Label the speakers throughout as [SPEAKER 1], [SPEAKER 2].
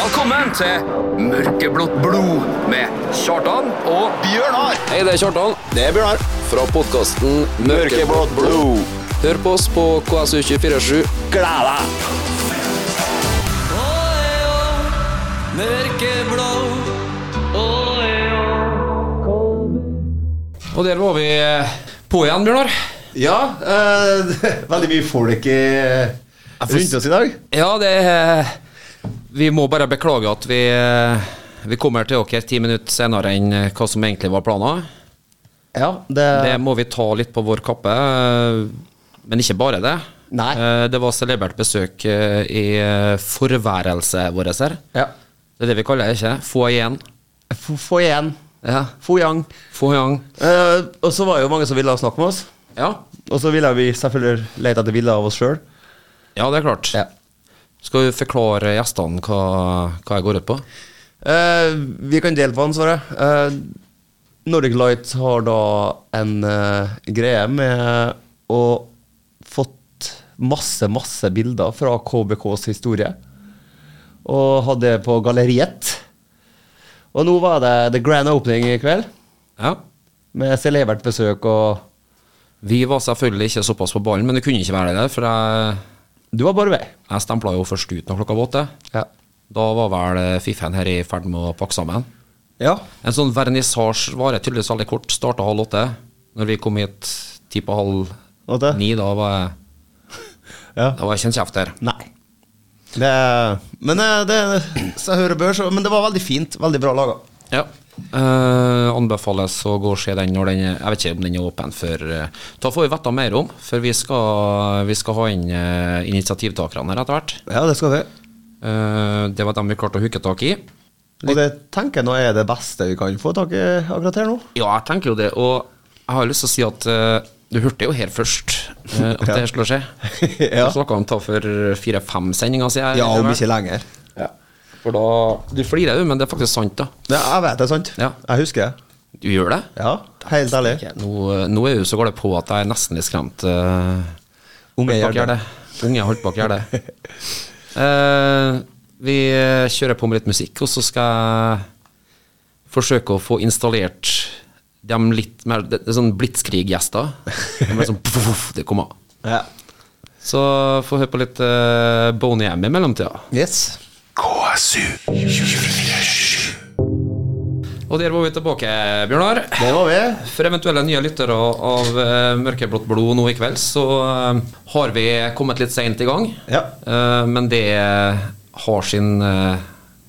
[SPEAKER 1] Velkommen til Mørkeblått blod med Kjartan og
[SPEAKER 2] Bjørnar
[SPEAKER 3] Hei, det er Kjartan
[SPEAKER 2] Det er Bjørnar
[SPEAKER 3] fra podkasten
[SPEAKER 2] Mørkeblått blod
[SPEAKER 3] Hør på oss på KSU247.
[SPEAKER 2] Gled deg
[SPEAKER 3] Og der var vi eh, på igjen, Bjørnar.
[SPEAKER 2] Ja, eh, det- eh, veldig mye folk i rundt oss i dag
[SPEAKER 3] Ja, det eh, Vi må bare beklage at vi eh, vi kommer til dere ti minutter senere enn eh, hva som egentlig var planen.
[SPEAKER 2] Ja, det,
[SPEAKER 3] Det må vi ta litt på vår kappe. eh, Men ikke bare det.
[SPEAKER 2] Nei.
[SPEAKER 3] Eh, Det var celebert besøk eh, i eh, forværelset vårt her.
[SPEAKER 2] ja.
[SPEAKER 3] Det er det vi kaller det, ikke? Få igjen.
[SPEAKER 2] F- Få igjen
[SPEAKER 3] Ja.
[SPEAKER 2] Få igjen
[SPEAKER 3] Få igjen.
[SPEAKER 2] Eh, Og så var det jo mange som ville snakke med oss
[SPEAKER 3] Ja.
[SPEAKER 2] Og så ville vi selvfølgelig lete etter bilder av oss selv
[SPEAKER 3] ja, det er klart. Skal du forklare gjestene hva, hva jeg går ut på?
[SPEAKER 2] Eh, vi kan dele på ansvaret. Eh, Nordic Light har da en eh, greie med å fått masse, masse bilder fra KBKs historie. Og hadde det på galleriet. Og nå var det the grand opening i kveld,
[SPEAKER 3] Ja.
[SPEAKER 2] med celebert besøk og
[SPEAKER 3] Vi var selvfølgelig ikke såpass på ballen, men det kunne ikke være det, for jeg,
[SPEAKER 2] Du var bare med.
[SPEAKER 3] jeg stempla jo først ut når klokka var åtte.
[SPEAKER 2] Ja.
[SPEAKER 3] Da var vel eh, fiffen her i ferd med å pakke sammen.
[SPEAKER 2] ja.
[SPEAKER 3] En sånn vernissasje varer tydeligvis veldig kort. Starta halv åtte. Når vi kom hit ti på halv
[SPEAKER 2] Åtte?
[SPEAKER 3] ni, da var jeg
[SPEAKER 2] Ja.
[SPEAKER 3] Da var jeg ikke en kjeft der.
[SPEAKER 2] Nei. Det, men, eh, det, så jeg hører bør, så, men det var veldig fint. Veldig bra laga.
[SPEAKER 3] Ja. Eh, anbefales å gå og se den når den er Jeg vet ikke om den er åpen for eh, Da får vi vite mer om, for vi skal, vi skal ha inn eh, initiativtakerne her etter hvert.
[SPEAKER 2] Ja, det skal vi.
[SPEAKER 3] Eh, det var dem vi klarte å hooke tak i.
[SPEAKER 2] Og det tenker jeg nå er det beste vi kan få tak i akkurat her nå.
[SPEAKER 3] Ja, jeg tenker jo det, og jeg har lyst til å si at eh, du hørte jo her først eh, at
[SPEAKER 2] Ja.
[SPEAKER 3] det her skulle skje.
[SPEAKER 2] Ja.
[SPEAKER 3] Vi snakka om det for fire-fem sendinger siden.
[SPEAKER 2] Ja, om
[SPEAKER 3] eller?
[SPEAKER 2] ikke lenger.
[SPEAKER 3] For da Du flirer, du, men det er faktisk sant, da.
[SPEAKER 2] Ja, jeg vet det er sant.
[SPEAKER 3] Ja.
[SPEAKER 2] Jeg husker det.
[SPEAKER 3] Du gjør det?
[SPEAKER 2] Ja, helt ærlig.
[SPEAKER 3] Nå, nå er du så gale på at jeg er nesten litt skremt. eh,
[SPEAKER 2] Unge
[SPEAKER 3] Holdt bak
[SPEAKER 2] gjør det.
[SPEAKER 3] gjerdet. Unge holdt bak gjerdet. Eh, vi kjører på med litt musikk, og så skal jeg forsøke å få installert de litt mer det, det er sånn blitzkrig-gjester. De er Sånn, puff, det kommer.
[SPEAKER 2] Ja.
[SPEAKER 3] Så få høre på litt uh, Boney M i mellomtida.
[SPEAKER 2] Yes.
[SPEAKER 3] Og der var vi tilbake, Bjørnar.
[SPEAKER 2] Det var vi.
[SPEAKER 3] For eventuelle nye lyttere av eh, Mørkeblått blod nå i kveld, så eh, har vi kommet litt seint i gang.
[SPEAKER 2] Ja.
[SPEAKER 3] Eh, men det har sin eh,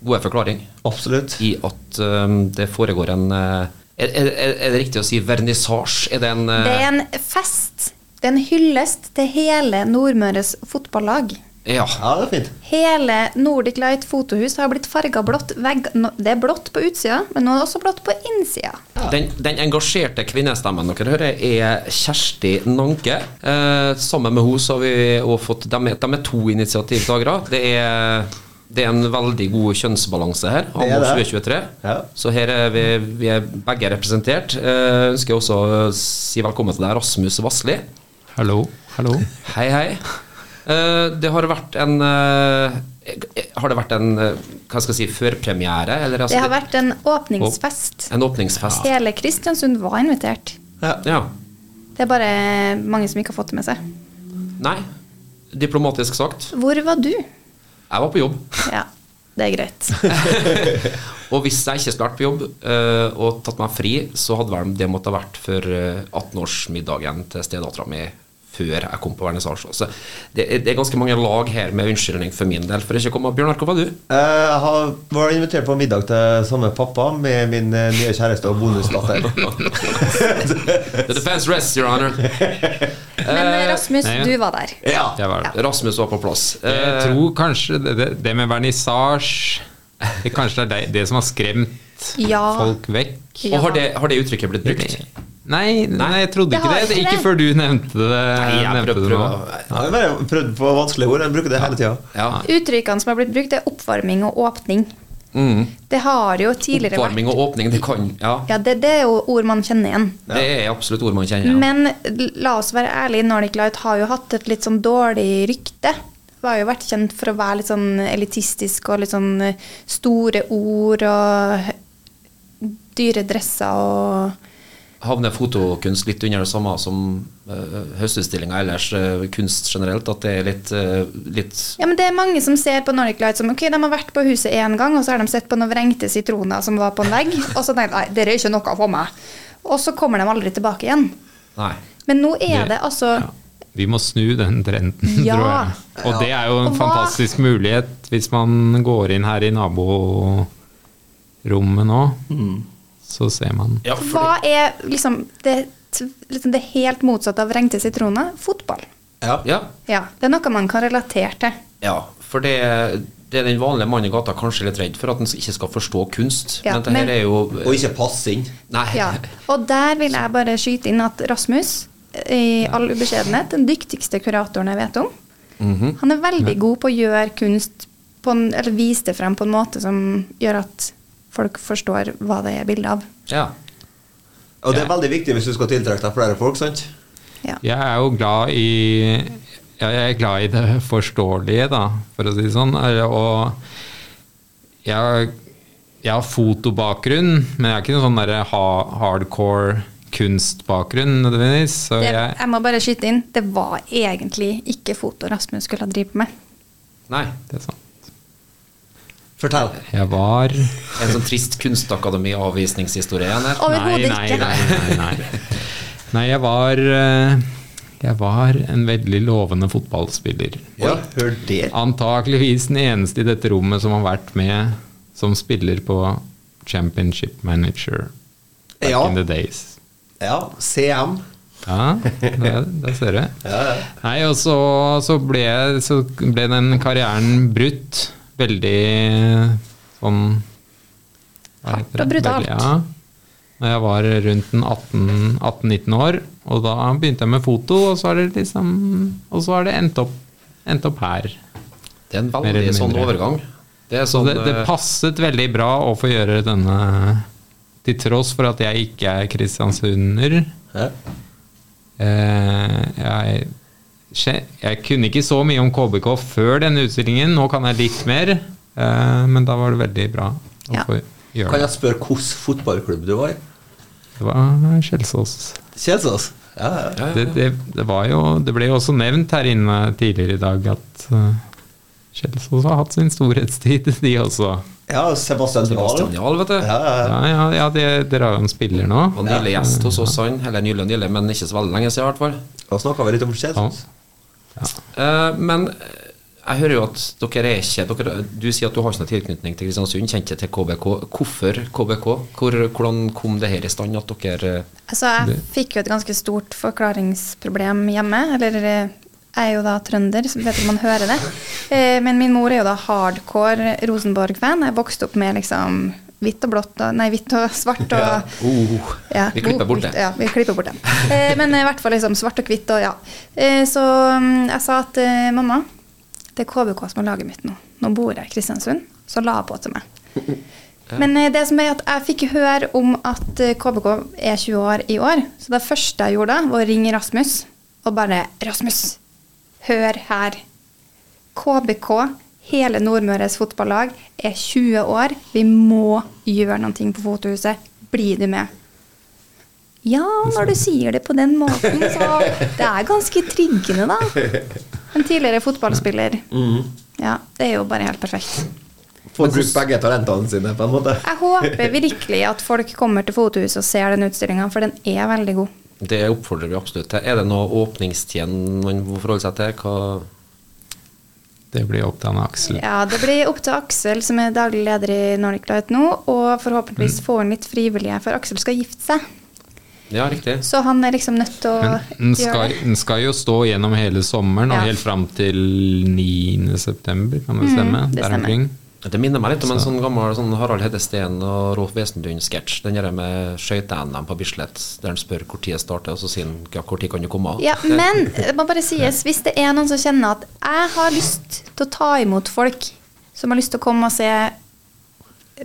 [SPEAKER 3] gode forklaring
[SPEAKER 2] Absolutt.
[SPEAKER 3] i at eh, det foregår en eh, er, er, er er det riktig å si vernissasje? Er det en eh,
[SPEAKER 4] Det er en fest. Det er en hyllest til hele Nordmøres fotballag.
[SPEAKER 3] Ja.
[SPEAKER 2] Ja, det er fint.
[SPEAKER 4] Hele Nordic Light fotohus har blitt farga blått. Vegg, nå- det er blått på utsida, men nå er det også blått på innsida.
[SPEAKER 3] Den, den engasjerte kvinnestemmen dere hører, er Kjersti Nanke. Eh, sammen med henne så har vi også fått De er, dem er to initiativtakere. Det er, det er en veldig god kjønnsbalanse her.
[SPEAKER 2] Det er
[SPEAKER 3] Anno
[SPEAKER 2] det.
[SPEAKER 3] 2023.
[SPEAKER 2] Ja.
[SPEAKER 3] Så her er vi, vi er begge representert. Eh, ønsker også å si velkommen til deg, Rasmus Vassli.
[SPEAKER 5] Hallo. Hallo.
[SPEAKER 3] Hei, hei. Eh, det har vært en eh, Har det vært en eh, hva skal jeg si, førpremiere? Eller, altså,
[SPEAKER 4] Det har vært en åpningsfest.
[SPEAKER 3] en åpningsfest?
[SPEAKER 4] Hele Kristiansund var invitert.
[SPEAKER 3] ja.
[SPEAKER 4] Det er bare mange som ikke har fått det med seg.
[SPEAKER 3] Nei. Diplomatisk sagt.
[SPEAKER 4] Hvor var du?
[SPEAKER 3] Jeg var på jobb.
[SPEAKER 4] Ja, det er greit.
[SPEAKER 3] Og hvis jeg ikke skulle vært på jobb eh, og tatt meg fri, så hadde vel det måtte ha vært for eh, 18-årsmiddagen til stedattera mi før jeg kom på vernissasje. Så det, er- det er ganske mange lag her med unnskyldning for min del for ikke å komme. Bjørnar, hvor var du?
[SPEAKER 2] Eh, Jeg har, var invitert på middag til samme pappa med min eh, nye kjæreste og bonusdatter.
[SPEAKER 3] The defense rests, your honor.
[SPEAKER 4] Men eh, Rasmus,
[SPEAKER 5] nei, ja.
[SPEAKER 4] du var der.
[SPEAKER 2] ja.
[SPEAKER 5] Jeg, var,
[SPEAKER 3] Rasmus var på plass.
[SPEAKER 5] jeg
[SPEAKER 3] Eh,
[SPEAKER 5] tror kanskje det, det, det med vernissasje det Kanskje det er det, det som har skremt
[SPEAKER 4] Ja.
[SPEAKER 5] folk vekk?
[SPEAKER 4] Ja.
[SPEAKER 3] Og har det, har det uttrykket blitt brukt?
[SPEAKER 5] Nei, nei, jeg trodde
[SPEAKER 4] Det
[SPEAKER 5] ikke
[SPEAKER 4] har
[SPEAKER 5] det.
[SPEAKER 4] ikke
[SPEAKER 5] Ikke
[SPEAKER 4] det.
[SPEAKER 5] før du nevnte det.
[SPEAKER 3] jeg
[SPEAKER 5] nevnte
[SPEAKER 3] prøver-
[SPEAKER 5] det nå.
[SPEAKER 3] prøver.
[SPEAKER 2] Jeg har bare prøvd på vanskelige ord. Jeg bruker det hele tida.
[SPEAKER 3] Ja.
[SPEAKER 4] Uttrykkene som har blitt brukt, er oppvarming og åpning. Det har jo tidligere vært
[SPEAKER 3] Oppvarming og åpning, det kan ja.
[SPEAKER 4] Ja, det, det er jo ord man kjenner igjen.
[SPEAKER 3] Det er absolutt ord man kjenner. Ja.
[SPEAKER 4] Men l- la oss være ærlige, Nordic Light har jo hatt et litt sånn dårlig rykte. har jo vært kjent for å være litt sånn elitistisk og litt sånn eh, store ord og dyre dresser og
[SPEAKER 3] Havner fotokunst litt under det samme som uh, høstutstillinga ellers, eh, kunst generelt, at det er litt, eh, litt
[SPEAKER 4] Ja, men det er mange som ser på Nordic Light som ok, de har vært på huset én gang, og så har de sett på noen vrengte sitroner som var på en vegg, og så tenkt nei, det er ikke noe for meg. Og så kommer de aldri tilbake igjen.
[SPEAKER 3] Nei.
[SPEAKER 4] Men nå er
[SPEAKER 5] Det-
[SPEAKER 4] det altså
[SPEAKER 5] Ja. Vi må snu den trenden,
[SPEAKER 4] Ja.
[SPEAKER 5] tror jeg. Og det er jo en
[SPEAKER 4] Og hva-
[SPEAKER 5] fantastisk mulighet hvis man går inn her i naborommet nå. Så ser man.
[SPEAKER 3] Ja, for
[SPEAKER 4] Hva er liksom det, t- liksom det helt motsatte av vrengte sitroner? Fotball.
[SPEAKER 3] det- ja.
[SPEAKER 4] Ja, Det er noe man kan relatere til.
[SPEAKER 3] ja, for det, det er den vanlige mannen i gata kanskje litt redd for, at han ikke skal forstå kunst.
[SPEAKER 4] Ja,
[SPEAKER 3] men det
[SPEAKER 4] men-
[SPEAKER 3] her er jo eh,
[SPEAKER 6] Og ikke passe inn.
[SPEAKER 3] Nei.
[SPEAKER 4] Ja. Og der vil jeg bare skyte inn at Rasmus, eh, i all ubeskjedenhet, den dyktigste kuratoren jeg vet om, han er veldig god på å gjøre kunst på en, eller vise det frem på en måte som gjør at folk forstår hva det er bilde av.
[SPEAKER 3] Ja.
[SPEAKER 2] Og det er veldig viktig hvis du skal tiltrekke deg flere folk, sant?
[SPEAKER 4] Ja.
[SPEAKER 5] Jeg er jo glad i ja, Jeg er glad i det forståelige, da, for å si det sånn. Er- Og jeg, har- jeg har fotobakgrunn, men jeg har ikke noen sånn derre ha, hardcore kunstbakgrunn nødvendigvis. Så
[SPEAKER 4] Det,
[SPEAKER 5] jeg,
[SPEAKER 4] jeg må bare skyte inn, det var egentlig ikke foto Rasmus skulle ha drevet med.
[SPEAKER 3] Nei.
[SPEAKER 5] det er sant.
[SPEAKER 2] Fortell.
[SPEAKER 5] Jeg var
[SPEAKER 3] En sånn trist kunstakademi-avvisningshistorie igjen her.
[SPEAKER 4] Overhodet
[SPEAKER 5] nei,
[SPEAKER 4] ikke.
[SPEAKER 5] Nei, nei, nei. nei jeg, var, eh, jeg var en veldig lovende fotballspiller.
[SPEAKER 2] Ja, hør det.
[SPEAKER 5] Antakeligvis den eneste i dette rommet som har vært med som spiller på Championship Manager back
[SPEAKER 2] Ja.
[SPEAKER 5] in the days.
[SPEAKER 2] Ja, CM.
[SPEAKER 5] Ja, det, det ser du. Nei, og så, så, ble, jeg- så ble den karrieren brutt. Veldig sånn hva
[SPEAKER 4] Hardt
[SPEAKER 5] heter det?
[SPEAKER 4] og brutalt.
[SPEAKER 5] Veldig, Ja. Når jeg var rundt en 18 18-19 år, og da begynte jeg med foto, og så har det liksom Og så har det endt opp, endt opp her.
[SPEAKER 3] Det er en
[SPEAKER 5] Mer eller
[SPEAKER 3] veldig sånn
[SPEAKER 5] mindre.
[SPEAKER 3] overgang. Det er
[SPEAKER 5] Så
[SPEAKER 3] sånn
[SPEAKER 5] det, det
[SPEAKER 3] eh,
[SPEAKER 5] passet veldig bra å få gjøre denne Til tross for at jeg ikke er kristiansunder.
[SPEAKER 2] Ja.
[SPEAKER 5] Eh, jeg, skje- jeg kunne ikke så mye om KBK før denne utstillingen. Nå kan jeg litt mer, eh, men da var det veldig bra å
[SPEAKER 4] Ja.
[SPEAKER 5] få
[SPEAKER 2] Kan
[SPEAKER 5] gjøre det.
[SPEAKER 2] jeg spørre hvilken fotballklubb du var i?
[SPEAKER 5] Det var Kjelsås.
[SPEAKER 2] Kjelsås? Ja, ja.
[SPEAKER 5] Det, det, det, var jo, det ble jo også nevnt her inne tidligere i dag at eh, Kjelsås har hatt sin storhetstid, de også.
[SPEAKER 2] ja Sebastian Dahl.
[SPEAKER 3] Sebastian Jahl, vet du.
[SPEAKER 2] Ja, ja, ja.
[SPEAKER 5] Ja, ja, ja det, dere har jo en spiller nå.
[SPEAKER 3] Var nylig gjest hos oss, han. Eller nylig og nylig, men ikke så veldig lenge siden, i hvert fall.
[SPEAKER 2] Da snakka vi litt om Kjelsås.
[SPEAKER 3] Eh, men eh, jeg hører jo at dere er ikke dere, Du sier at du har ikke noen tilknytning til Kristiansund, kjente til KBK. Hvorfor KBK? Hvor, hvordan kom det her i stand at dere eh,
[SPEAKER 4] Altså, jeg fikk jo et ganske stort forklaringsproblem hjemme. Eller eh, jeg er jo da trønder, så vet ikke om man hører det. Eh, Men min mor er jo da hardcore Rosenborg-fan. Jeg vokste opp med liksom hvitt og blått og Nei, hvitt og svart og ja.
[SPEAKER 3] oh, Vi klipper bort det.
[SPEAKER 4] Ja, vi klipper bort det. Eh, Men i hvert fall liksom svart og hvitt og ja. Eh, Så mm, jeg sa at eh, mamma, det er KBK som er laget mitt nå. Nå bor jeg i Kristiansund, så la hun på til meg. Men eh, det som er at jeg fikk høre om at eh, KBK er 20 år i år. Så det første jeg gjorde, da, var å ringe Rasmus og bare 'Rasmus, hør her. KBK, hele Nordmøres fotballag, er 20 år. Vi må gjøre noe på Fotohuset. Blir du med?' Ja, når du sier det på den måten, så Det er ganske triggende, da. En tidligere fotballspiller. Ja, det er jo bare helt perfekt.
[SPEAKER 2] Får brukt begge talentene sine, på en måte.
[SPEAKER 4] Jeg håper virkelig at folk kommer til Fotohuset og ser den utstillinga, for den er veldig god.
[SPEAKER 3] Det oppfordrer vi absolutt til. Er det noe åpningstid man må forholde seg til? Hva,
[SPEAKER 5] Det blir opp til han Aksel.
[SPEAKER 4] Ja, Det blir opp til Aksel, som er daglig leder i Nordic Light nå, og forhåpentligvis
[SPEAKER 5] Mm.
[SPEAKER 4] få inn litt frivillige, for Aksel skal gifte seg.
[SPEAKER 3] ja, riktig.
[SPEAKER 4] Så han er liksom nødt til å
[SPEAKER 5] Men den
[SPEAKER 4] gjøre
[SPEAKER 5] skal,
[SPEAKER 4] det.
[SPEAKER 5] den skal jo stå gjennom hele sommeren og
[SPEAKER 4] Ja. Mm,
[SPEAKER 5] helt fram til 9. september, kan det stemme?
[SPEAKER 4] det
[SPEAKER 5] Der
[SPEAKER 4] stemmer.
[SPEAKER 5] omkring.
[SPEAKER 3] Det minner meg litt om en sånn gammel sånn Harald Hedde Steen og Rolf Wesendun-sketsj. Den der med skøyte-NM på Bislett, der han spør når det starter, og så sier han ja, når kan du komme?
[SPEAKER 4] Ja, Men det må bare sies, hvis det er noen som kjenner at jeg har lyst til å ta imot folk som har lyst til å komme og se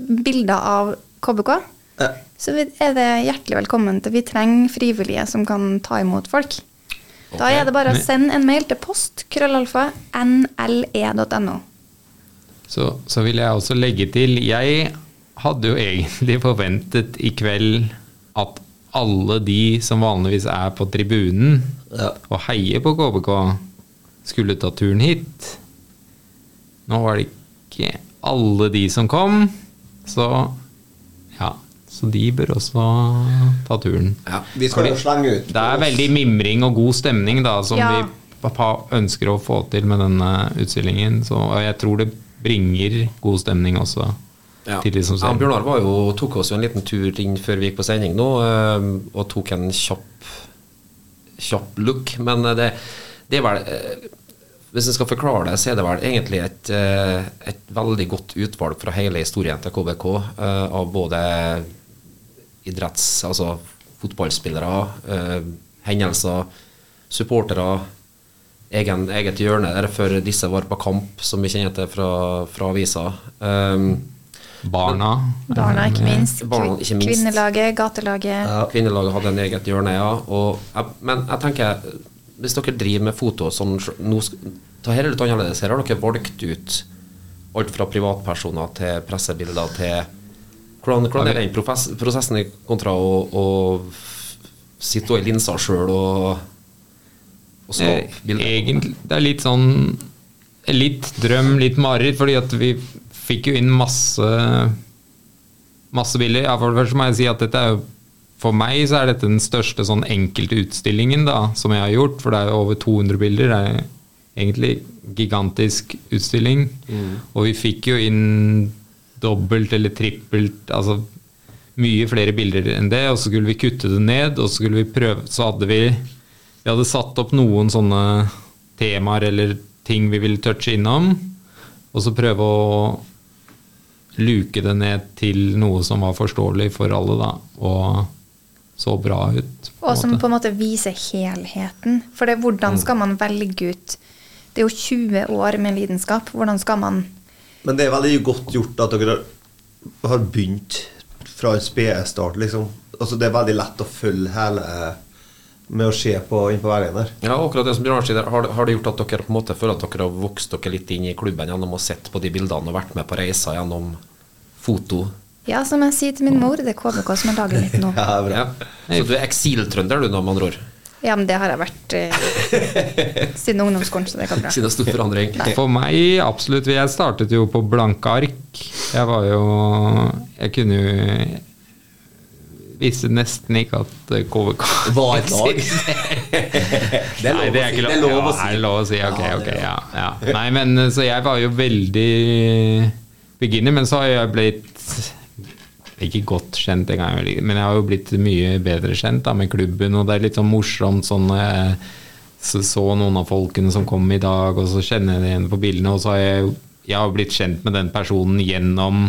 [SPEAKER 4] bilder av KBK,
[SPEAKER 2] Ja.
[SPEAKER 4] så er det hjertelig velkommen til. Vi trenger frivillige som kan ta imot folk. Da er det bare å sende en mail til post krøllalfa e nle.no.
[SPEAKER 5] Så, så vil jeg også legge til Jeg hadde jo egentlig forventet i kveld at alle de som vanligvis er på tribunen
[SPEAKER 2] Ja.
[SPEAKER 5] og heier på KBK, skulle ta turen hit. Nå var det ikke alle de som kom, så ja. Så de bør også ta turen.
[SPEAKER 2] Vi skal jo slenge ut.
[SPEAKER 5] Det er veldig mimring og god stemning da, som
[SPEAKER 4] Ja.
[SPEAKER 5] vi pappa ønsker å få til med denne utstillingen. Så, og jeg tror det bringer god stemning også
[SPEAKER 3] Ja.
[SPEAKER 5] til de som
[SPEAKER 3] Ja,
[SPEAKER 5] ser. den.
[SPEAKER 3] Bjørnar var jo, tok oss jo en liten tur inn før vi gikk på sending nå, eh, og tok en kjapp, kjapp look. Men eh, det, det er vel eh, Hvis en skal forklare det, så er det vel egentlig et, eh, et veldig godt utvalg fra hele historien til KBK eh, av både idretts... Altså fotballspillere, eh, hendelser, supportere. Egen, eget hjørne der før disse var på kamp, som vi kjenner til fra, fra avisa. Um,
[SPEAKER 5] Barna.
[SPEAKER 4] Barna, ikke minst.
[SPEAKER 3] Barna, ikke minst.
[SPEAKER 4] Kvinnelaget, gatelaget.
[SPEAKER 3] Ja. Eh, Kvinnelaget hadde en eget hjørne, ja. Og jeg, men jeg tenker, hvis dere driver med foto sånn, sj- nå, sk- ta her er litt annerledes. Her har dere valgt ut alt fra privatpersoner til pressebilder til Hvordan, hvordan er den profes, prosessen i kontra å, å sitte og i linsa sjøl og, og skape bilder?
[SPEAKER 5] Eh, Egentlig, det er litt sånn Litt drøm, litt mareritt, fordi at vi fikk jo inn masse Masse bilder. Ja, for det første må jeg si at dette er jo For meg så er dette den største sånn enkelte utstillingen da, som jeg har gjort, for det er jo over 200 bilder. Det er egentlig gigantisk utstilling. Og vi fikk jo inn dobbelt eller trippelt Altså mye flere bilder enn det, og så skulle vi kutte det ned, og så skulle vi prøve Så hadde vi Vi hadde satt opp noen sånne temaer eller ting vi ville touche innom, og så prøve å luke det ned til noe som var forståelig for alle, da, og så bra ut. på en
[SPEAKER 4] Og som
[SPEAKER 5] måte.
[SPEAKER 4] på en måte viser helheten. For det,
[SPEAKER 3] Mm.
[SPEAKER 4] hvordan skal man velge ut Det er jo 20 år med lidenskap. Hvordan skal man
[SPEAKER 2] Men det er veldig godt gjort at dere har begynt fra en spedstart, liksom. Altså, det er veldig lett å følge hele eh, med å se på inn på veien der.
[SPEAKER 3] Ja, akkurat det som Bjørnar sier, der, har, har det gjort at dere på en måte føler at dere har vokst dere litt inn i klubben gjennom å sett på de bildene og vært med på reiser gjennom foto?
[SPEAKER 4] Ja, som jeg sier til min mor, det er KBK som er laget mitt nå.
[SPEAKER 2] Ja, bra.
[SPEAKER 3] Ja. Så du er eksiltrønder, du, da, med andre ord?
[SPEAKER 4] Ja, men det har jeg vært eh, siden ungdomsskolen, så det går bra.
[SPEAKER 3] Siden det er stor forandring.
[SPEAKER 5] For meg, absolutt. Jeg startet jo på blanke ark. Jeg var jo Jeg kunne jo Visste nesten ikke at KVK
[SPEAKER 2] Var et lag. Det er
[SPEAKER 5] Nei, det er ikke lov,
[SPEAKER 2] Det er lov å
[SPEAKER 5] Ja, er
[SPEAKER 2] si.
[SPEAKER 5] det lov å si. Ok,
[SPEAKER 2] Ja,
[SPEAKER 5] ok.
[SPEAKER 2] det er
[SPEAKER 5] Ja, ja. Nei, men eh, så jeg var jo veldig beginner, men så har jeg blitt ikke godt kjent engang, vel, men jeg har jo blitt mye bedre kjent da, med klubben, og det er litt sånn morsomt sånn eh, så, så noen av folkene som kom i dag, og så kjenner jeg det igjen på bildene, og så har jeg, jo- jeg har jo blitt kjent med den personen gjennom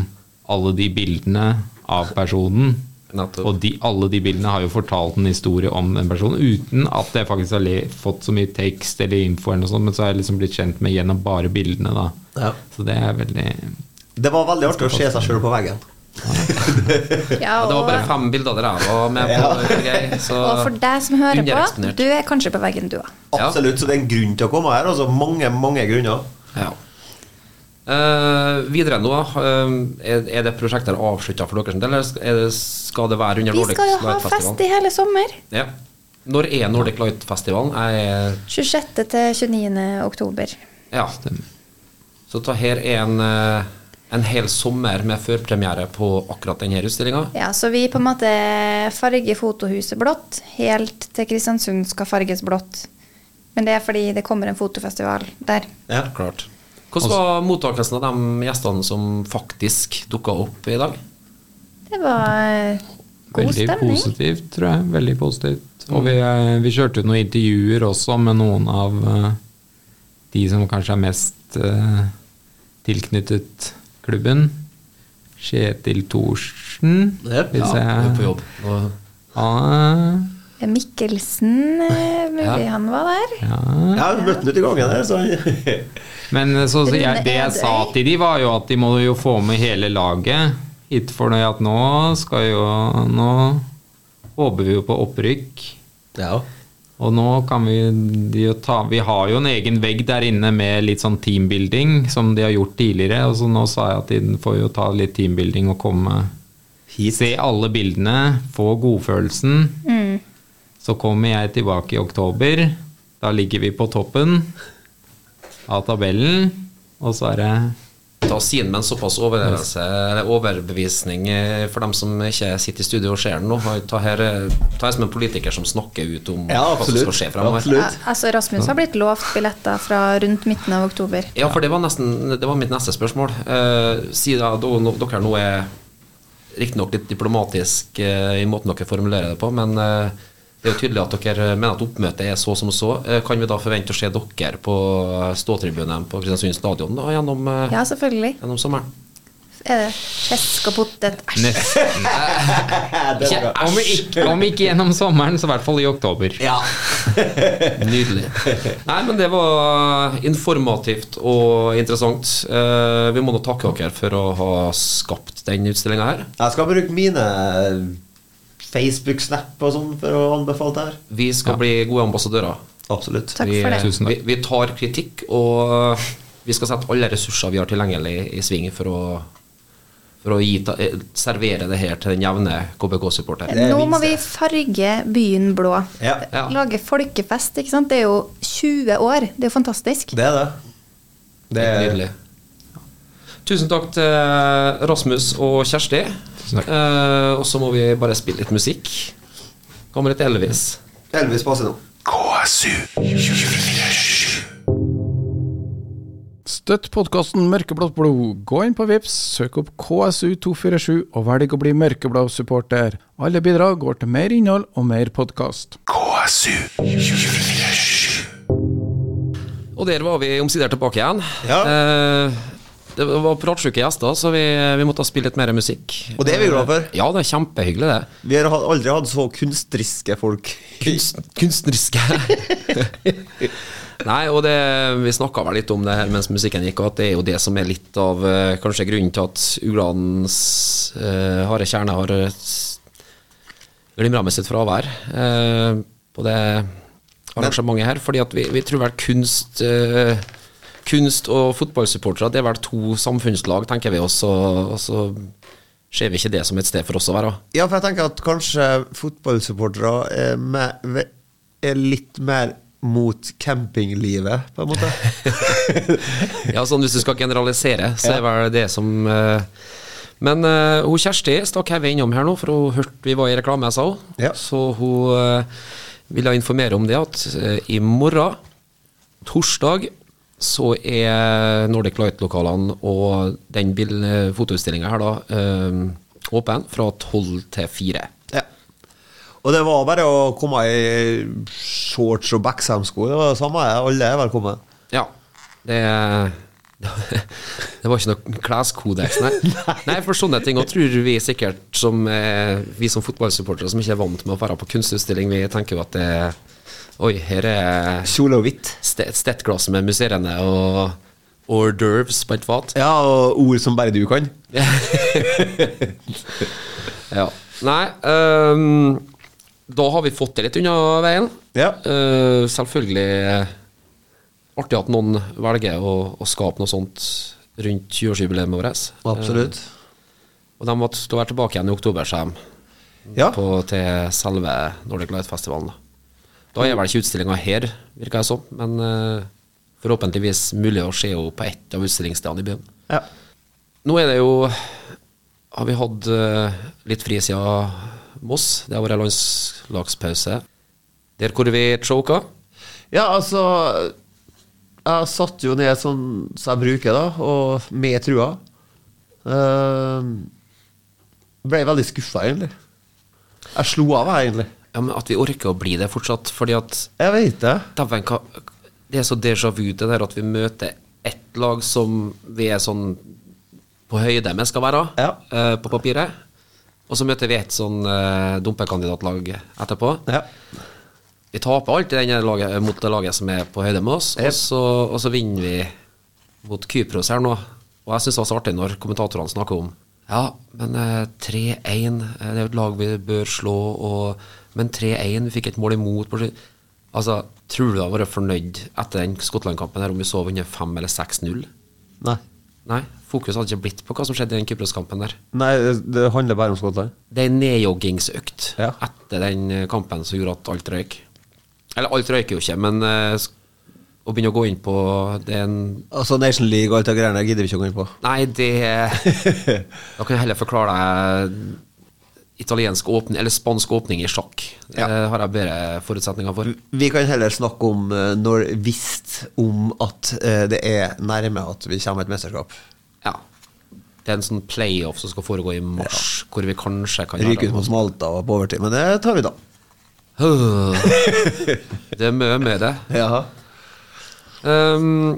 [SPEAKER 5] alle de bildene av personen.
[SPEAKER 3] Nettopp.
[SPEAKER 5] Og de, alle de bildene har jo fortalt en historie om den personen, uten at jeg faktisk har le, fått så mye tekst eller info, eller noe sånt, men så har jeg liksom blitt kjent med gjennom bare bildene. da.
[SPEAKER 2] Ja.
[SPEAKER 5] Så det er veldig
[SPEAKER 2] Det var veldig artig å se seg sjøl på veggen.
[SPEAKER 4] Ja,
[SPEAKER 3] Det var
[SPEAKER 4] og,
[SPEAKER 3] bare fem bilder der jeg var med på. Geir, så
[SPEAKER 4] og for deg som hører på,
[SPEAKER 3] Undereksponert.
[SPEAKER 4] du er kanskje på veggen, du òg.
[SPEAKER 3] Ja.
[SPEAKER 2] Absolutt, så det er en grunn til å komme her. Altså mange, mange grunner.
[SPEAKER 3] ja. Eh, videre nå, eh, er, er det prosjektet avslutta for deres del, eller sk- er det, skal det være under
[SPEAKER 4] Vi
[SPEAKER 3] Nordic
[SPEAKER 4] skal jo ha
[SPEAKER 3] Light Festival?
[SPEAKER 4] fest i hele sommer.
[SPEAKER 3] Ja. Når er Nordic Light Festivalen? Jeg er
[SPEAKER 4] 26. til 29. oktober.
[SPEAKER 3] Ja. Så ta her er en, eh, en hel sommer med førpremiere på akkurat denne utstillinga.
[SPEAKER 4] Ja, så vi på en måte farger fotohuset blått, helt til Kristiansund skal farges blått. Men det er fordi det kommer en fotofestival der.
[SPEAKER 3] Ja. Klart. Hvordan var mottakelsen av de gjestene som faktisk dukka opp i dag?
[SPEAKER 4] Det var eh, god
[SPEAKER 5] Veldig
[SPEAKER 4] stemning.
[SPEAKER 5] positivt, tror jeg. Veldig positivt. Og vi, eh, vi kjørte jo noen intervjuer også med noen av eh, de som kanskje er mest eh, tilknyttet klubben. Kjetil Thorsen,
[SPEAKER 2] Jep.
[SPEAKER 5] hvis
[SPEAKER 3] Ja, på
[SPEAKER 5] jeg
[SPEAKER 3] jobb. Og
[SPEAKER 5] Ah,
[SPEAKER 4] Eh, Mikkelsen, eh, mulig
[SPEAKER 3] Ja.
[SPEAKER 4] han var der.
[SPEAKER 5] ja.
[SPEAKER 2] Jeg har møtt ham ute i gangen her, så
[SPEAKER 5] Men eh, så, så jeg,
[SPEAKER 4] Rune
[SPEAKER 5] det jeg
[SPEAKER 4] Edøy.
[SPEAKER 5] sa til de var jo at de må jo få med hele laget hit for det at nå skal jo Nå håper vi jo på opprykk.
[SPEAKER 2] Ja.
[SPEAKER 5] Og nå kan vi de jo ta Vi har jo en egen vegg der inne med litt sånn teambuilding, som de har gjort tidligere. Og så nå sa jeg at de får jo ta litt teambuilding og komme Se alle bildene, få godfølelsen. Så kommer jeg tilbake i oktober. Da ligger vi på toppen av tabellen, og så er det
[SPEAKER 3] Ta sin med en såpass overlevelse, eller overbevisning eh, for dem som ikke sitter i studio og ser den nå. Ta her, eh, ta her som en politiker som snakker ut om
[SPEAKER 2] Ja,
[SPEAKER 3] hva som skal
[SPEAKER 2] absolutt.
[SPEAKER 3] skje fremover.
[SPEAKER 4] Ja,
[SPEAKER 2] absolutt.
[SPEAKER 4] altså Rasmus har blitt lovt billetter fra rundt midten av oktober.
[SPEAKER 3] Ja, for det var, nesten, det var mitt neste spørsmål. Eh, si da, da, nå- dere nå er riktignok litt diplomatisk eh, i måten dere formulerer det på, men eh, det er jo tydelig at dere mener at oppmøtet er så som så. Eh, kan vi da forvente å se dere på ståtribunen på Kristiansund stadion da, gjennom, eh,
[SPEAKER 4] Ja, selvfølgelig.
[SPEAKER 3] gjennom sommeren?
[SPEAKER 4] Er det fisk og potet? Æsj.
[SPEAKER 5] neste
[SPEAKER 3] Ikke
[SPEAKER 5] om ikke, om ikke gjennom sommeren, så i hvert fall i oktober.
[SPEAKER 3] Ja. Nydelig. Nei, men det var informativt og interessant. Eh, vi må nå takke dere for å ha skapt den utstillinga her.
[SPEAKER 2] Jeg skal bruke mine eh, Facebook-snap og sånn for å anbefale det her.
[SPEAKER 3] Vi skal bli gode ambassadører.
[SPEAKER 2] Absolutt.
[SPEAKER 4] Takk
[SPEAKER 3] Vi,
[SPEAKER 4] for det.
[SPEAKER 5] Tusen
[SPEAKER 3] vi,
[SPEAKER 5] takk.
[SPEAKER 3] vi tar kritikk, og eh, vi skal sette alle ressurser vi har tilgjengelig i sving for å, for å gi, ta, eh, servere det her til den jevne KBK-supporter.
[SPEAKER 2] Det er
[SPEAKER 4] Nå må vi
[SPEAKER 2] minst
[SPEAKER 4] farge byen blå.
[SPEAKER 2] Ja.
[SPEAKER 3] Ja.
[SPEAKER 4] Lage folkefest. ikke sant? Det er jo 20 år. Det er jo fantastisk.
[SPEAKER 2] Det er det. Det er
[SPEAKER 3] Nydelig. Tusen takk til eh, Rasmus og Kjersti.
[SPEAKER 5] Tusen takk.
[SPEAKER 3] Eh, og så må vi bare spille litt musikk. Kommer et Elvis.
[SPEAKER 2] Elvis passer nå.
[SPEAKER 7] Støtt podkasten Mørkeblått blod. Gå inn på Vips, søk opp KSU247 og velg å bli mørkeblå supporter. Alle bidrag går til mer innhold og mer podkast.
[SPEAKER 3] Og der var vi omsider tilbake igjen.
[SPEAKER 2] Ja.
[SPEAKER 3] Eh, det var pratsjuke gjester, så vi, vi måtte spille litt mer musikk.
[SPEAKER 2] Og det er vi glad for.
[SPEAKER 3] Ja, det er kjempehyggelig, det.
[SPEAKER 2] Vi har ha- aldri hatt så kunstriske folk.
[SPEAKER 3] Kunst, kunstneriske. Nei, og det, vi snakka vel litt om det her mens musikken gikk, og at det er jo det som er litt av eh, kanskje grunnen til at uglenes eh, harde kjerne har glimra med sitt fravær eh, på det arrangementet her. Fordi at vi, vi tror vel kunst eh, Kunst og fotballsupportere det er vel to samfunnslag, tenker vi oss, og, og så ser vi ikke det som et sted for oss å være.
[SPEAKER 2] Ja, for jeg tenker at kanskje fotballsupportere er, mer- ve- er litt mer mot campinglivet, på en måte.
[SPEAKER 3] Ja, sånn hvis du skal generalisere, så er vel det som eh, Men eh, hun Kjersti stakk hodet innom her nå, for hun hørte vi var i reklame, sa hun.
[SPEAKER 2] Ja.
[SPEAKER 3] Så hun eh, ville informere om det at eh, i morgen, torsdag, så er Nordic Light-lokalene og den bil- eh, fotoutstillinga her da eh, åpen fra tolv til fire.
[SPEAKER 2] ja. Og det var bare å komme i shorts og Beckham-sko. Det var det samme, alle er velkommen.
[SPEAKER 3] Ja. Det Det var ikke noe kleskodeks, nei. nei. For sånne ting og tror vi sikkert, som eh, vi som fotballsupportere som ikke er vant med å være på kunstutstilling, vi tenker jo at det Oi, her er
[SPEAKER 2] Kjole og hvitt.
[SPEAKER 3] ste- et stettglass med musserende og hors d'oeuvres på et fat.
[SPEAKER 2] Ja, og ord som bare du kan.
[SPEAKER 3] Ja. Nei, ehm, da har vi fått det litt unna veien.
[SPEAKER 2] Ja.
[SPEAKER 3] Eh, selvfølgelig eh, artig at noen velger å, å skape noe sånt rundt 20-årsjubileet vårt.
[SPEAKER 2] Absolutt.
[SPEAKER 3] Og de måtte stå her tilbake igjen i oktober, sa de,
[SPEAKER 2] Ja.
[SPEAKER 3] på, til selve Nordic Light-festivalen. Da. da er vel ikke utstillinga her, virker det som, men eh, forhåpentligvis mulig å se henne på ett av utstillingsstedene i byen.
[SPEAKER 2] ja.
[SPEAKER 3] Nå er det jo Har vi hatt eh, litt fri siden Moss. Det har vært landslagspause. Der hvor vi choka.
[SPEAKER 6] Ja, altså Jeg satte jo ned sånn som jeg bruker, da, og med trua. Eh, ble veldig skuffa, egentlig. Jeg slo av, jeg, egentlig.
[SPEAKER 3] Ja, men at vi orker å bli det fortsatt, fordi at
[SPEAKER 6] Jeg vet det.
[SPEAKER 3] Dæven, hva Det er så déjà vu, det der at vi møter ett lag som vi er sånn på høyde med skal være,
[SPEAKER 2] Ja.
[SPEAKER 3] eh, på papiret. Og så møter vi et sånn eh, dumpekandidatlag etterpå.
[SPEAKER 2] Ja.
[SPEAKER 3] Vi taper alltid denne laget, eh, mot det laget som er på høyde med oss, og, så, og så vinner vi mot Kypros her nå. Og jeg syns det var så artig når kommentatorene snakker om Ja, men eh, 3-1, eh, det er jo et lag vi bør slå, og Men 3-1, vi fikk et mål imot på slutt. Ja, Altså, tror du du hadde vært fornøyd etter den Skottland-kampen her om vi så vunnet 5 eller 6-0?
[SPEAKER 2] Nei.
[SPEAKER 3] Nei, fokuset hadde ikke blitt på hva som skjedde i den Kypros-kampen der.
[SPEAKER 2] Nei, det- det handler bare om Skottland.
[SPEAKER 3] Det er en nedjoggingsøkt
[SPEAKER 2] Ja.
[SPEAKER 3] etter den eh, kampen som gjorde at alt røyk. Eller alt røyker jo ikke, men eh, sk- å begynne å gå inn på det er en
[SPEAKER 2] Altså Nation League og alt det greiene gidder vi ikke å gå inn på.
[SPEAKER 3] Nei, det Da kan jeg heller forklare deg italiensk åpning, eller spansk åpning i sjakk. Det har jeg bedre forutsetninger for.
[SPEAKER 2] Vi kan heller snakke om eh, når visst om at eh, det er nærme at vi kommer et mesterskap.
[SPEAKER 3] Ja. Det er en sånn playoff som skal foregå i mars, hvor vi kanskje kan
[SPEAKER 2] Ryke ut mot Malta og på overtid, men det tar vi da.
[SPEAKER 3] det. det er mye med det.
[SPEAKER 2] Ja.
[SPEAKER 3] Ehm,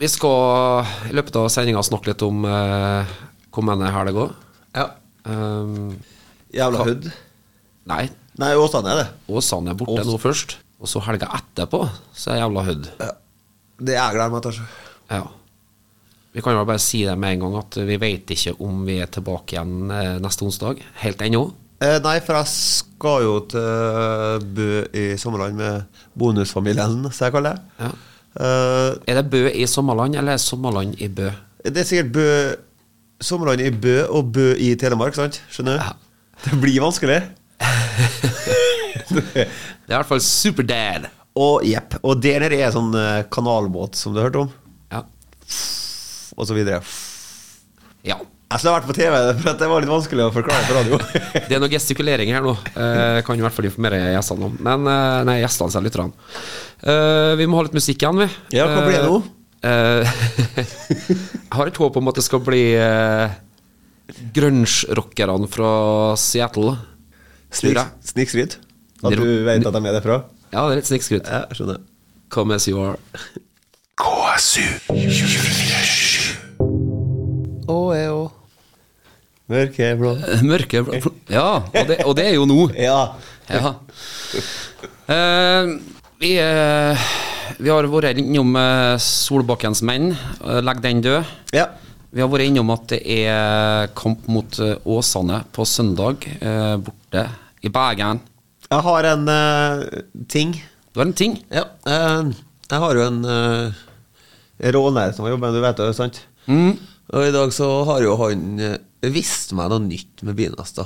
[SPEAKER 3] vi skal i løpet av sendinga snakke litt om uh, kommende helg òg.
[SPEAKER 2] ja.
[SPEAKER 3] Ehm,
[SPEAKER 2] Jævla
[SPEAKER 3] Ka-
[SPEAKER 2] hud.
[SPEAKER 3] nei,
[SPEAKER 2] Nei, Åsane er det.
[SPEAKER 3] Åsane er borte nå først. Og så helga etterpå, så er jævla hødd.
[SPEAKER 2] Ja. Det jeg gleder meg til. altså.
[SPEAKER 3] Ja. Vi kan jo bare si det med en gang at vi vet ikke om vi er tilbake igjen eh, neste onsdag. Helt ennå.
[SPEAKER 2] Eh, nei, for jeg skal jo til Bø i Sommerland med bonusfamilien, som jeg kaller det.
[SPEAKER 3] Ja.
[SPEAKER 2] Eh,
[SPEAKER 3] Er det Bø i Sommerland, eller er Sommerland i Bø?
[SPEAKER 2] det er sikkert Bø Sommerland i Bø og Bø i Telemark, sant? Skjønner du? Det blir vanskelig.
[SPEAKER 3] Det er i hvert fall Superdad.
[SPEAKER 2] Og jepp. Og der nede er sånn eh, kanalbåt som du har hørt om,
[SPEAKER 3] Ja.
[SPEAKER 2] og så videre.
[SPEAKER 3] ja.
[SPEAKER 2] Jeg skulle ha vært på TV, for at det var litt vanskelig å forklare på radio.
[SPEAKER 3] Det er noe gestikulering her nå. Eh, kan i hvert fall informere gjestene om. Men eh, nei, gjestene sier lytterne. Eh, vi må ha litt musikk igjen, vi.
[SPEAKER 2] Ja, hva blir det nå?
[SPEAKER 3] Eh, jeg har et håp om at det skal bli eh, grunge-rockerne fra Seattle. Tror jeg.
[SPEAKER 2] Snik- Snikskryt? At du
[SPEAKER 3] Dro-
[SPEAKER 2] vet at de er derfra?
[SPEAKER 3] Ja, det er litt snikskryt.
[SPEAKER 2] Ja, skjønner.
[SPEAKER 3] Come as you are.
[SPEAKER 2] Mørkeblå.
[SPEAKER 3] Eh, Mørke Ja, og det, og det er jo nå.
[SPEAKER 2] Ja.
[SPEAKER 3] Ja. Eh, vi, eh, vi har vært innom eh, Solbakkens menn. eh, Legg den død.
[SPEAKER 2] ja.
[SPEAKER 3] Vi har vært innom at det er kamp mot eh, Åsane på søndag, eh, borte i Bergen.
[SPEAKER 2] Jeg har en eh, ting.
[SPEAKER 3] Det var en ting.
[SPEAKER 2] Ja. eh, jeg har jo en uh, råner som har jobba med det, du vet det, sant? Og i dag så har jo han eh, vist meg noe nytt med Binasta.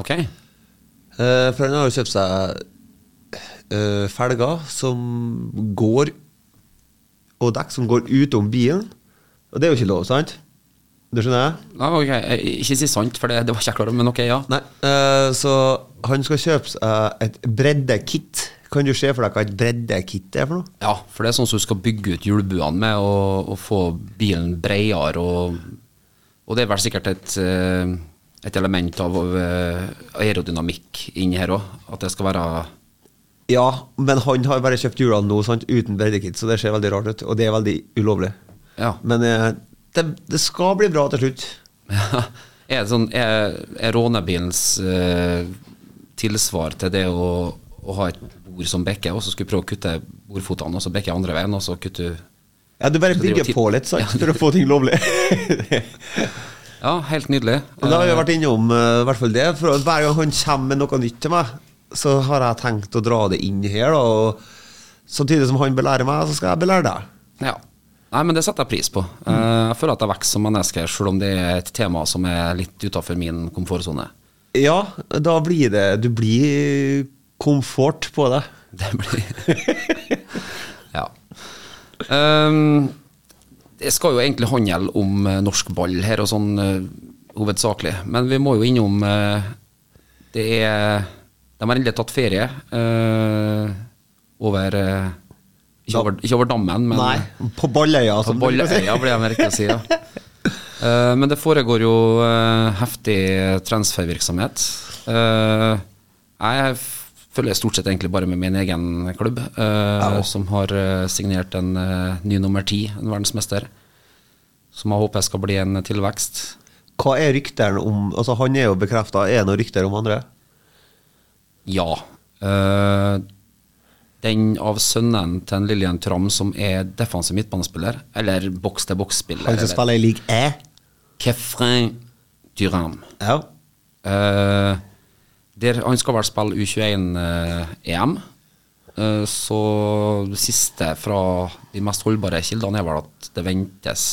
[SPEAKER 3] Ok.
[SPEAKER 2] Eh, for han har jo kjøpt seg eh, felger som går Og dekk som går utom bilen. Og det er jo ikke lov, sant? Det skjønner jeg?
[SPEAKER 3] Ja, ok, eh, Ikke si sant, for det, det var ikke jeg klar over, men ok, ja.
[SPEAKER 2] Nei, eh, så han skal kjøpe seg et breddekit. Kan du se for deg hva et breddekit er for noe?
[SPEAKER 3] Ja, for det er sånn som du skal bygge ut hjulbuene med og, og få bilen bredere og, og det er vel sikkert et, eh, et element av eh, aerodynamikk inn her òg. At det skal være
[SPEAKER 2] Ja, men han har bare kjøpt hjulene nå sant? uten breddekit, så det ser veldig rart ut. Og det er veldig ulovlig.
[SPEAKER 3] Ja.
[SPEAKER 2] Men eh, det, det skal bli bra til slutt.
[SPEAKER 3] Er det sånn Er, er rånebilens eh, tilsvar til det å, å ha et bord som bekker, og så skulle du prøve å kutte bordfotene, og så bekker andre veien, og så kutter du
[SPEAKER 2] Ja, Du bare
[SPEAKER 3] Så det er jo
[SPEAKER 2] bygger
[SPEAKER 3] tid-
[SPEAKER 2] på litt sant? for å få ting lovlig.
[SPEAKER 3] Ja, helt nydelig.
[SPEAKER 2] Men da har vi vært innom eh, i hvert fall det. For at hver gang han kommer med noe nytt til meg, så har jeg tenkt å dra det inn her. Da, og samtidig som han belærer meg, så skal jeg belære deg.
[SPEAKER 3] Ja. Nei, men det setter jeg pris på. Eh, Jeg føler at jeg vokser som menneske, selv om det er et tema som er litt utafor min komfortsone.
[SPEAKER 2] Ja, da blir det Du blir komfort på det.
[SPEAKER 3] Det blir Ja. Ehm, det skal jo egentlig handle om eh, norsk ball her, og sånn eh, hovedsakelig. Men vi må jo innom eh, Det er De har endelig tatt ferie eh, over eh, ikke, over, ikke over dammen, men
[SPEAKER 2] Nei, på Balløya.
[SPEAKER 3] På
[SPEAKER 2] som du kan si.
[SPEAKER 3] Balløya blir det riktig å si, ja. Eh, men det foregår jo eh, heftig transfervirksomhet. Eh, jeg f- følger stort sett egentlig bare med min egen klubb, eh, som har eh, signert en eh, ny nummer ti, en verdensmester, som jeg håper skal bli en tilvekst.
[SPEAKER 2] Hva er ryktene om Altså, han er jo bekrefta. Er det noen rykter om andre?
[SPEAKER 3] Ja. Eh, den av sønnen til en Lillian Tram som er defensiv midtbanespiller, eller boks-til-boks-spiller.
[SPEAKER 2] Han som
[SPEAKER 3] eller-
[SPEAKER 2] spiller i league E?
[SPEAKER 3] Kefren Duram.
[SPEAKER 2] Ja.
[SPEAKER 3] Eh, der, han skal vel spille U21-EM. Eh, Så det siste fra de mest holdbare kildene er vel at det ventes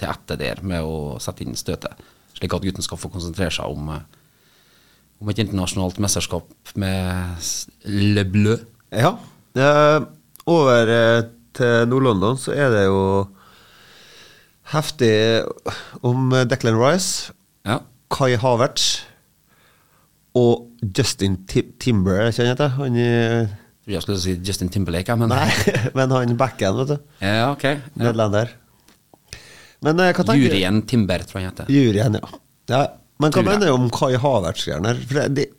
[SPEAKER 3] til etter der med å sette inn støtet, slik at gutten skal få konsentrere seg om, eh, om et internasjonalt mesterskap med s- Le Bleu.
[SPEAKER 2] Ja. Eh, over eh, til Nord-London så er det jo heftig om Declan Rice,
[SPEAKER 3] Ja.
[SPEAKER 2] Kai Havertz og Justin Tim Timber, kjenner jeg til. Han i-
[SPEAKER 3] Tror Jeg skulle si Justin Timberlake, jeg, men
[SPEAKER 2] Nei, men han backen, vet du.
[SPEAKER 3] Ja, ok. Ja.
[SPEAKER 2] Nederlender. Men eh, hva tenker
[SPEAKER 3] Juryen Timber, tror jeg han heter.
[SPEAKER 2] Juryen, ja. ja. Men hva
[SPEAKER 3] Tror jeg.
[SPEAKER 2] mener du om Kai Havertz-greiene? her? For det- de-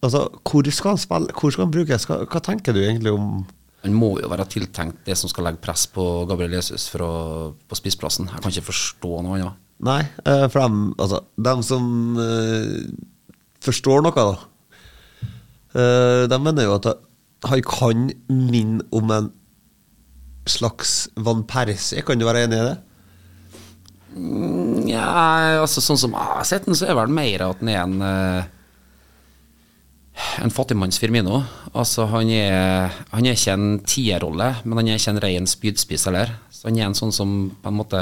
[SPEAKER 2] Altså, hvor skal han spille? Hvor skal han brukes? Hva, hva tenker du egentlig om
[SPEAKER 3] Han må jo være tiltenkt det som skal legge press på Gabriel Jesus for å, på spissplassen. Jeg kan ikke forstå noe annet.
[SPEAKER 2] Nei, eh, for dem, altså, dem som eh, forstår noe, da. Eh, de mener jo at han kan minne om en slags Van Persie. Kan du være enig i det?
[SPEAKER 3] Ja, altså sånn som jeg har sett den, så er vel mer at han er en eh, En fattigmanns Firmino. Altså, han er, han er ikke en tierrolle, men han er ikke en ren spydspiss heller. Så han er en sånn som på en måte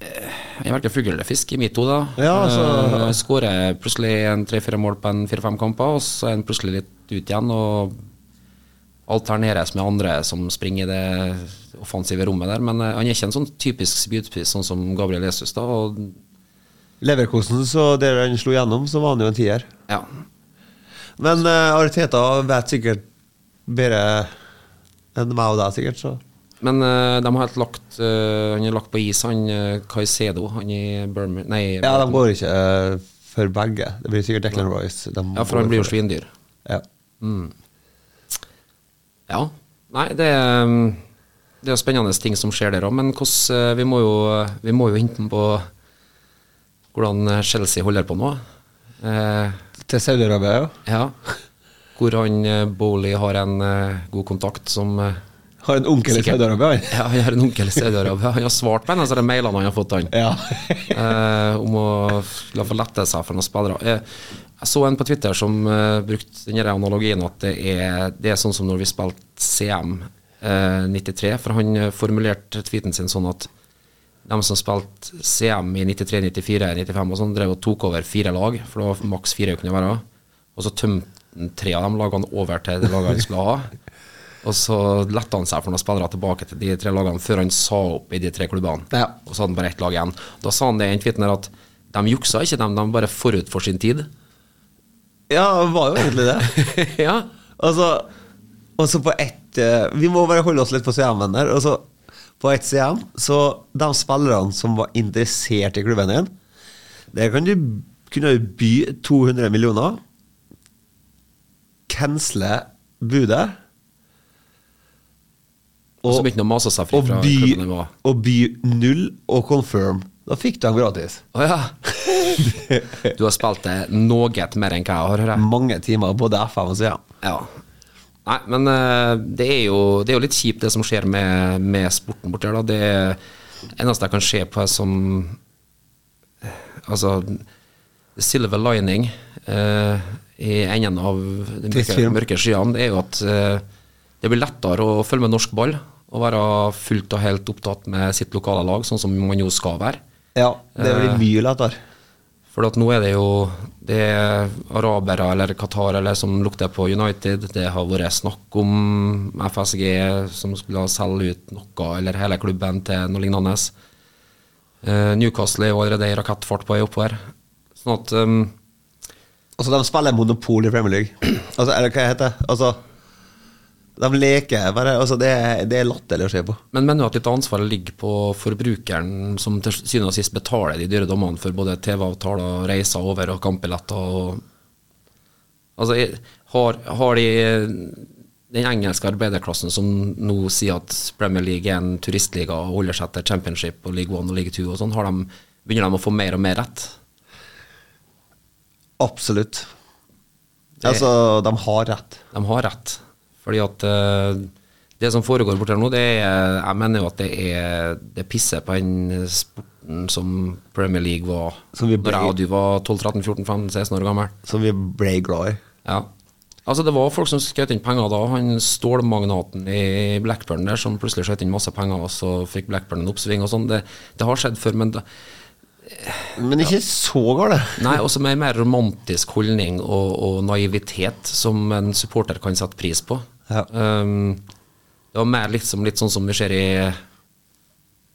[SPEAKER 3] eh, Han er verken fugl eller fisk i mitt hode. da.
[SPEAKER 2] Ja, altså-
[SPEAKER 3] Eh, han Skårer plutselig en tre-fire mål på en fire-fem kamper, og så er han plutselig litt ut igjen. og alterneres med andre som springer i det offensive rommet der. Men eh, han er ikke en sånn typisk spydspiss, sånn som Gabriel Jesus. da, og
[SPEAKER 2] Leverkosen, så der han slo gjennom, så var han jo en tier.
[SPEAKER 3] ja,
[SPEAKER 2] Men eh, Arteta vet sikkert bedre enn meg og deg, sikkert. Så.
[SPEAKER 3] Men eh, de har helt lagt eh, Han er lagt på is, han uh, Caicedo. Han i Burma Nei,
[SPEAKER 2] Ja, de går ikke eh, for begge. Det blir sikkert Declan Rice. De
[SPEAKER 3] ja, for han
[SPEAKER 2] går
[SPEAKER 3] blir jo
[SPEAKER 2] for det.
[SPEAKER 3] svindyr.
[SPEAKER 2] Ja.
[SPEAKER 3] Ja. Nei, det er, mm, det er spennende ting som skjer der òg, men hvordan, eh, vi, må jo, vi må jo vente på hvordan eh, Chelsea holder på nå. Eh,
[SPEAKER 2] Til Saudi-Arabia, ja.
[SPEAKER 3] Ja. Hvor han eh, Bowley har en eh, god kontakt som eh,
[SPEAKER 2] Har en onkel i
[SPEAKER 3] Sikkert.
[SPEAKER 2] Saudi-Arabia, han.
[SPEAKER 3] Ja, han har en onkel i Saudi-Arabia. Han har svart på en av de mailene han har fått, han.
[SPEAKER 2] Ja.
[SPEAKER 3] eh, om å f- la få lette seg for noen spillere. Eh, jeg så en på Twitter som eh, brukte den her analogien at det er, det er sånn som når vi spilte CM eh, 93, for han eh, formulerte tweeten sin sånn at de som spilte CM i 93, 94, 95 og sånn, drev og tok over fire lag, for det var maks fire kunne være. Og så tømte han tre av de lagene over til det laget han skulle ha. Og så lette han seg for noen spillere tilbake til de tre lagene før han sa opp i de tre klubbene.
[SPEAKER 2] Ja.
[SPEAKER 3] Og så hadde han bare ett lag igjen. Da sa han det i den tweeten her at de juksa ikke, de, de bare forut for sin tid.
[SPEAKER 2] ja, han var jo egentlig det.
[SPEAKER 3] ja.
[SPEAKER 2] Altså, og så på ett eh, Vi må bare holde oss litt på CM-en der. Og så på ett CM, så de spillerne som var interessert i klubben din, der kan du kunne du by 200 millioner. Cancele budet.
[SPEAKER 3] Og så
[SPEAKER 2] Og,
[SPEAKER 3] begynte han å mase seg fri
[SPEAKER 2] og,
[SPEAKER 3] fra klubben han
[SPEAKER 2] by,
[SPEAKER 3] var.
[SPEAKER 2] og by null og confirm. Da fikk du dem gratis.
[SPEAKER 3] Å ja. Du har spilt det noe mer enn hva jeg har, hører jeg.
[SPEAKER 2] Mange timer, både FM og CM.
[SPEAKER 3] Ja. Nei, men eh, det, er jo, det er jo litt kjipt det som skjer med, med sporten borti her. da. Det er- eneste jeg kan se på er som Altså the Silver lining eh, i enden av de
[SPEAKER 2] Trist
[SPEAKER 3] mørke,
[SPEAKER 2] film.
[SPEAKER 3] mørke skyene, det er jo at eh, det blir lettere å følge med norsk ball og være fullt og helt opptatt med sitt lokale lag, sånn som man jo skal være.
[SPEAKER 2] Ja, det blir
[SPEAKER 3] Eh.
[SPEAKER 2] mye lettere.
[SPEAKER 3] For at nå er det jo det er arabere eller qatarere som lukter på United. Det har vært snakk om FSG som skulle selge ut noe eller hele klubben til noe lignende. Eh, Newcastle er jo allerede i rakettfart på vei oppover. Sånn at eh,
[SPEAKER 2] Altså, de spiller monopol i Premier League. Altså, eller hva heter det? Altså, de leker bare altså, det, er- det er latterlig å se på.
[SPEAKER 3] Men mener du at litt av ansvaret ligger på forbrukeren, som til syvende og sist betaler de dyre dommene for både TV-avtaler, reiser over og kampbilletter og Altså, jeg- har, har de den engelske arbeiderklassen som nå sier at Premier League er en turistliga og holder seg til Championship og League One og League Two og sånn, har de, begynner de å få mer og mer rett?
[SPEAKER 2] Absolutt. Altså, de har rett.
[SPEAKER 3] De har rett. Fordi at eh, det som foregår borte her nå, det er Jeg mener jo at det er det pisser på den sporten som Premier League var
[SPEAKER 2] Som vi ble-
[SPEAKER 3] når jeg og du var 12-13-14-15-16 år gammel.
[SPEAKER 2] Som vi ble glad i.
[SPEAKER 3] Ja. Altså Det var folk som skjøt inn penger da. Han stålmagnaten i Blackburn der som plutselig skjøt inn masse penger, og så fikk Blackburn en oppsving og sånn. Det, det har skjedd før, men da,
[SPEAKER 2] Men ikke så gale.
[SPEAKER 3] Nei, også med en mer romantisk holdning og, og naivitet som en supporter kan sette pris på.
[SPEAKER 2] Ja.
[SPEAKER 3] Um, det var mer liksom, litt sånn som vi ser i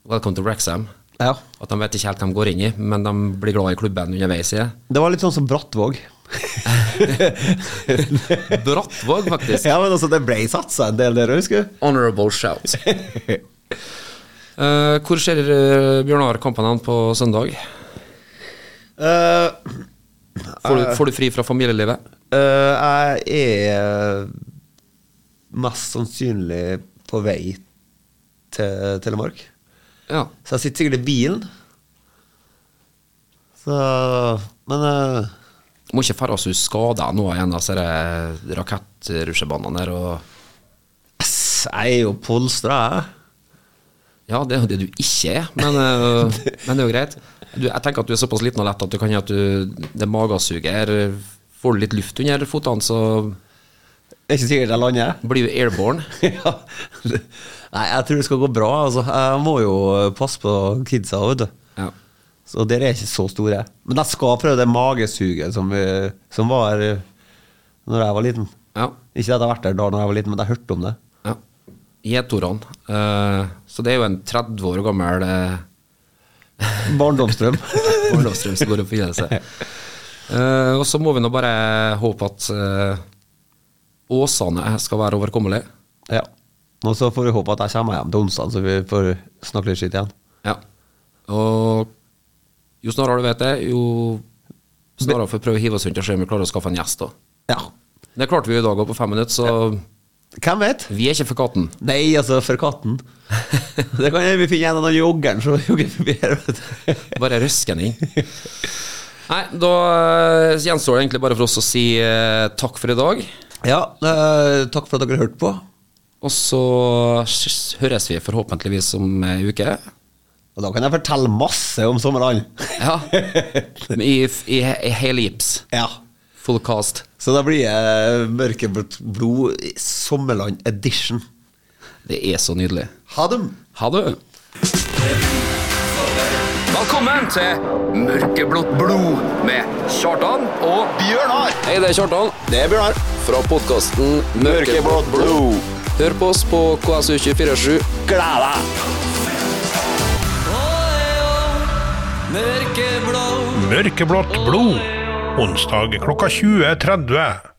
[SPEAKER 3] Welcome to Wrexham.
[SPEAKER 2] Ja.
[SPEAKER 3] At de vet ikke helt hva de går inn i, men de blir glad i klubben underveis i det.
[SPEAKER 2] Det var litt sånn som Brattvåg.
[SPEAKER 3] Brattvåg, faktisk.
[SPEAKER 2] Ja, men altså, det ble satsa en del der, husker du?
[SPEAKER 3] Honorable shout. Eh, hvor ser eh, Bjørnar kampen hen på søndag?
[SPEAKER 2] Eh,
[SPEAKER 3] Får du, får du fri fra familielivet?
[SPEAKER 2] eh, jeg er mest sannsynlig på vei til Telemark.
[SPEAKER 3] Ja.
[SPEAKER 2] Så jeg sitter sikkert i bilen. Så Men eh,
[SPEAKER 3] Må ikke færre oss ut skada nå av en av disse eh, rakettrusjebanene der. og...
[SPEAKER 2] ass, jeg er jo polstra, eh. jeg.
[SPEAKER 3] Ja, det er jo det du ikke er, men, øh, men det er jo greit. Du, jeg tenker at du er såpass liten og lett at du kan gjøre at du, det magesuget her Får du litt luft under føttene, så
[SPEAKER 2] Det er ikke sikkert jeg lander.
[SPEAKER 3] blir du airborne.
[SPEAKER 2] ja. Nei, jeg tror det skal gå bra. Altså. Jeg må jo eh, passe på kidsa, vet du.
[SPEAKER 3] Ja.
[SPEAKER 2] Så dere er ikke så store. Men jeg skal prøve det magesuget som, vi, som var her Når jeg var liten.
[SPEAKER 3] ja,
[SPEAKER 2] Ikke at jeg har vært der da når jeg var liten, men jeg hørte om det.
[SPEAKER 3] ja. Gjetorene. Eh, så det er jo en 30 år gammel eh,
[SPEAKER 2] Barndomsdrøm.
[SPEAKER 3] barndomsdrøm som går opp i seg. Eh, og så må vi nå bare håpe at eh, Åsane skal være overkommelig.
[SPEAKER 2] ja. Og så får vi håpe at jeg kommer hjem til onsdag, så vi får snakke litt skitt igjen.
[SPEAKER 3] Ja. Og jo snarere du vet det, jo snarere får vi prøve å hive oss rundt og se om vi klarer å skaffe en gjest. da.
[SPEAKER 2] Ja.
[SPEAKER 3] Det klarte vi jo i dag òg, på fem minutter, så
[SPEAKER 2] Hvem vet?
[SPEAKER 3] vi er ikke for katten.
[SPEAKER 2] Nei, altså, for katten. Det kan hende vi finner en av den joggeren som jogger forbi her. vet du.
[SPEAKER 3] Bare røske den inn. Nei, da eh, gjenstår det egentlig bare for oss å si eh, takk for i dag.
[SPEAKER 2] Ja, eh, takk for at dere hørte på.
[SPEAKER 3] Og så s- høres vi forhåpentligvis om ei uke.
[SPEAKER 2] Og da kan jeg fortelle masse om sommerland.
[SPEAKER 3] Ja. I, f- i, he- i hele gips.
[SPEAKER 2] Ja.
[SPEAKER 3] Full cast.
[SPEAKER 2] Så da blir jeg mørkeblått blod i sommerland edition.
[SPEAKER 3] Det er så nydelig.
[SPEAKER 2] Ha det!
[SPEAKER 3] Ha det.
[SPEAKER 1] Velkommen til Mørkeblått blod med Kjartan og Bjørnar.
[SPEAKER 3] Hei, det er Kjartan. Det er Bjørnar. Fra podkasten Mørkeblått blod. Hør på oss på KSU247.
[SPEAKER 8] Mørkeblått blod. Onsdag klokka 20.30.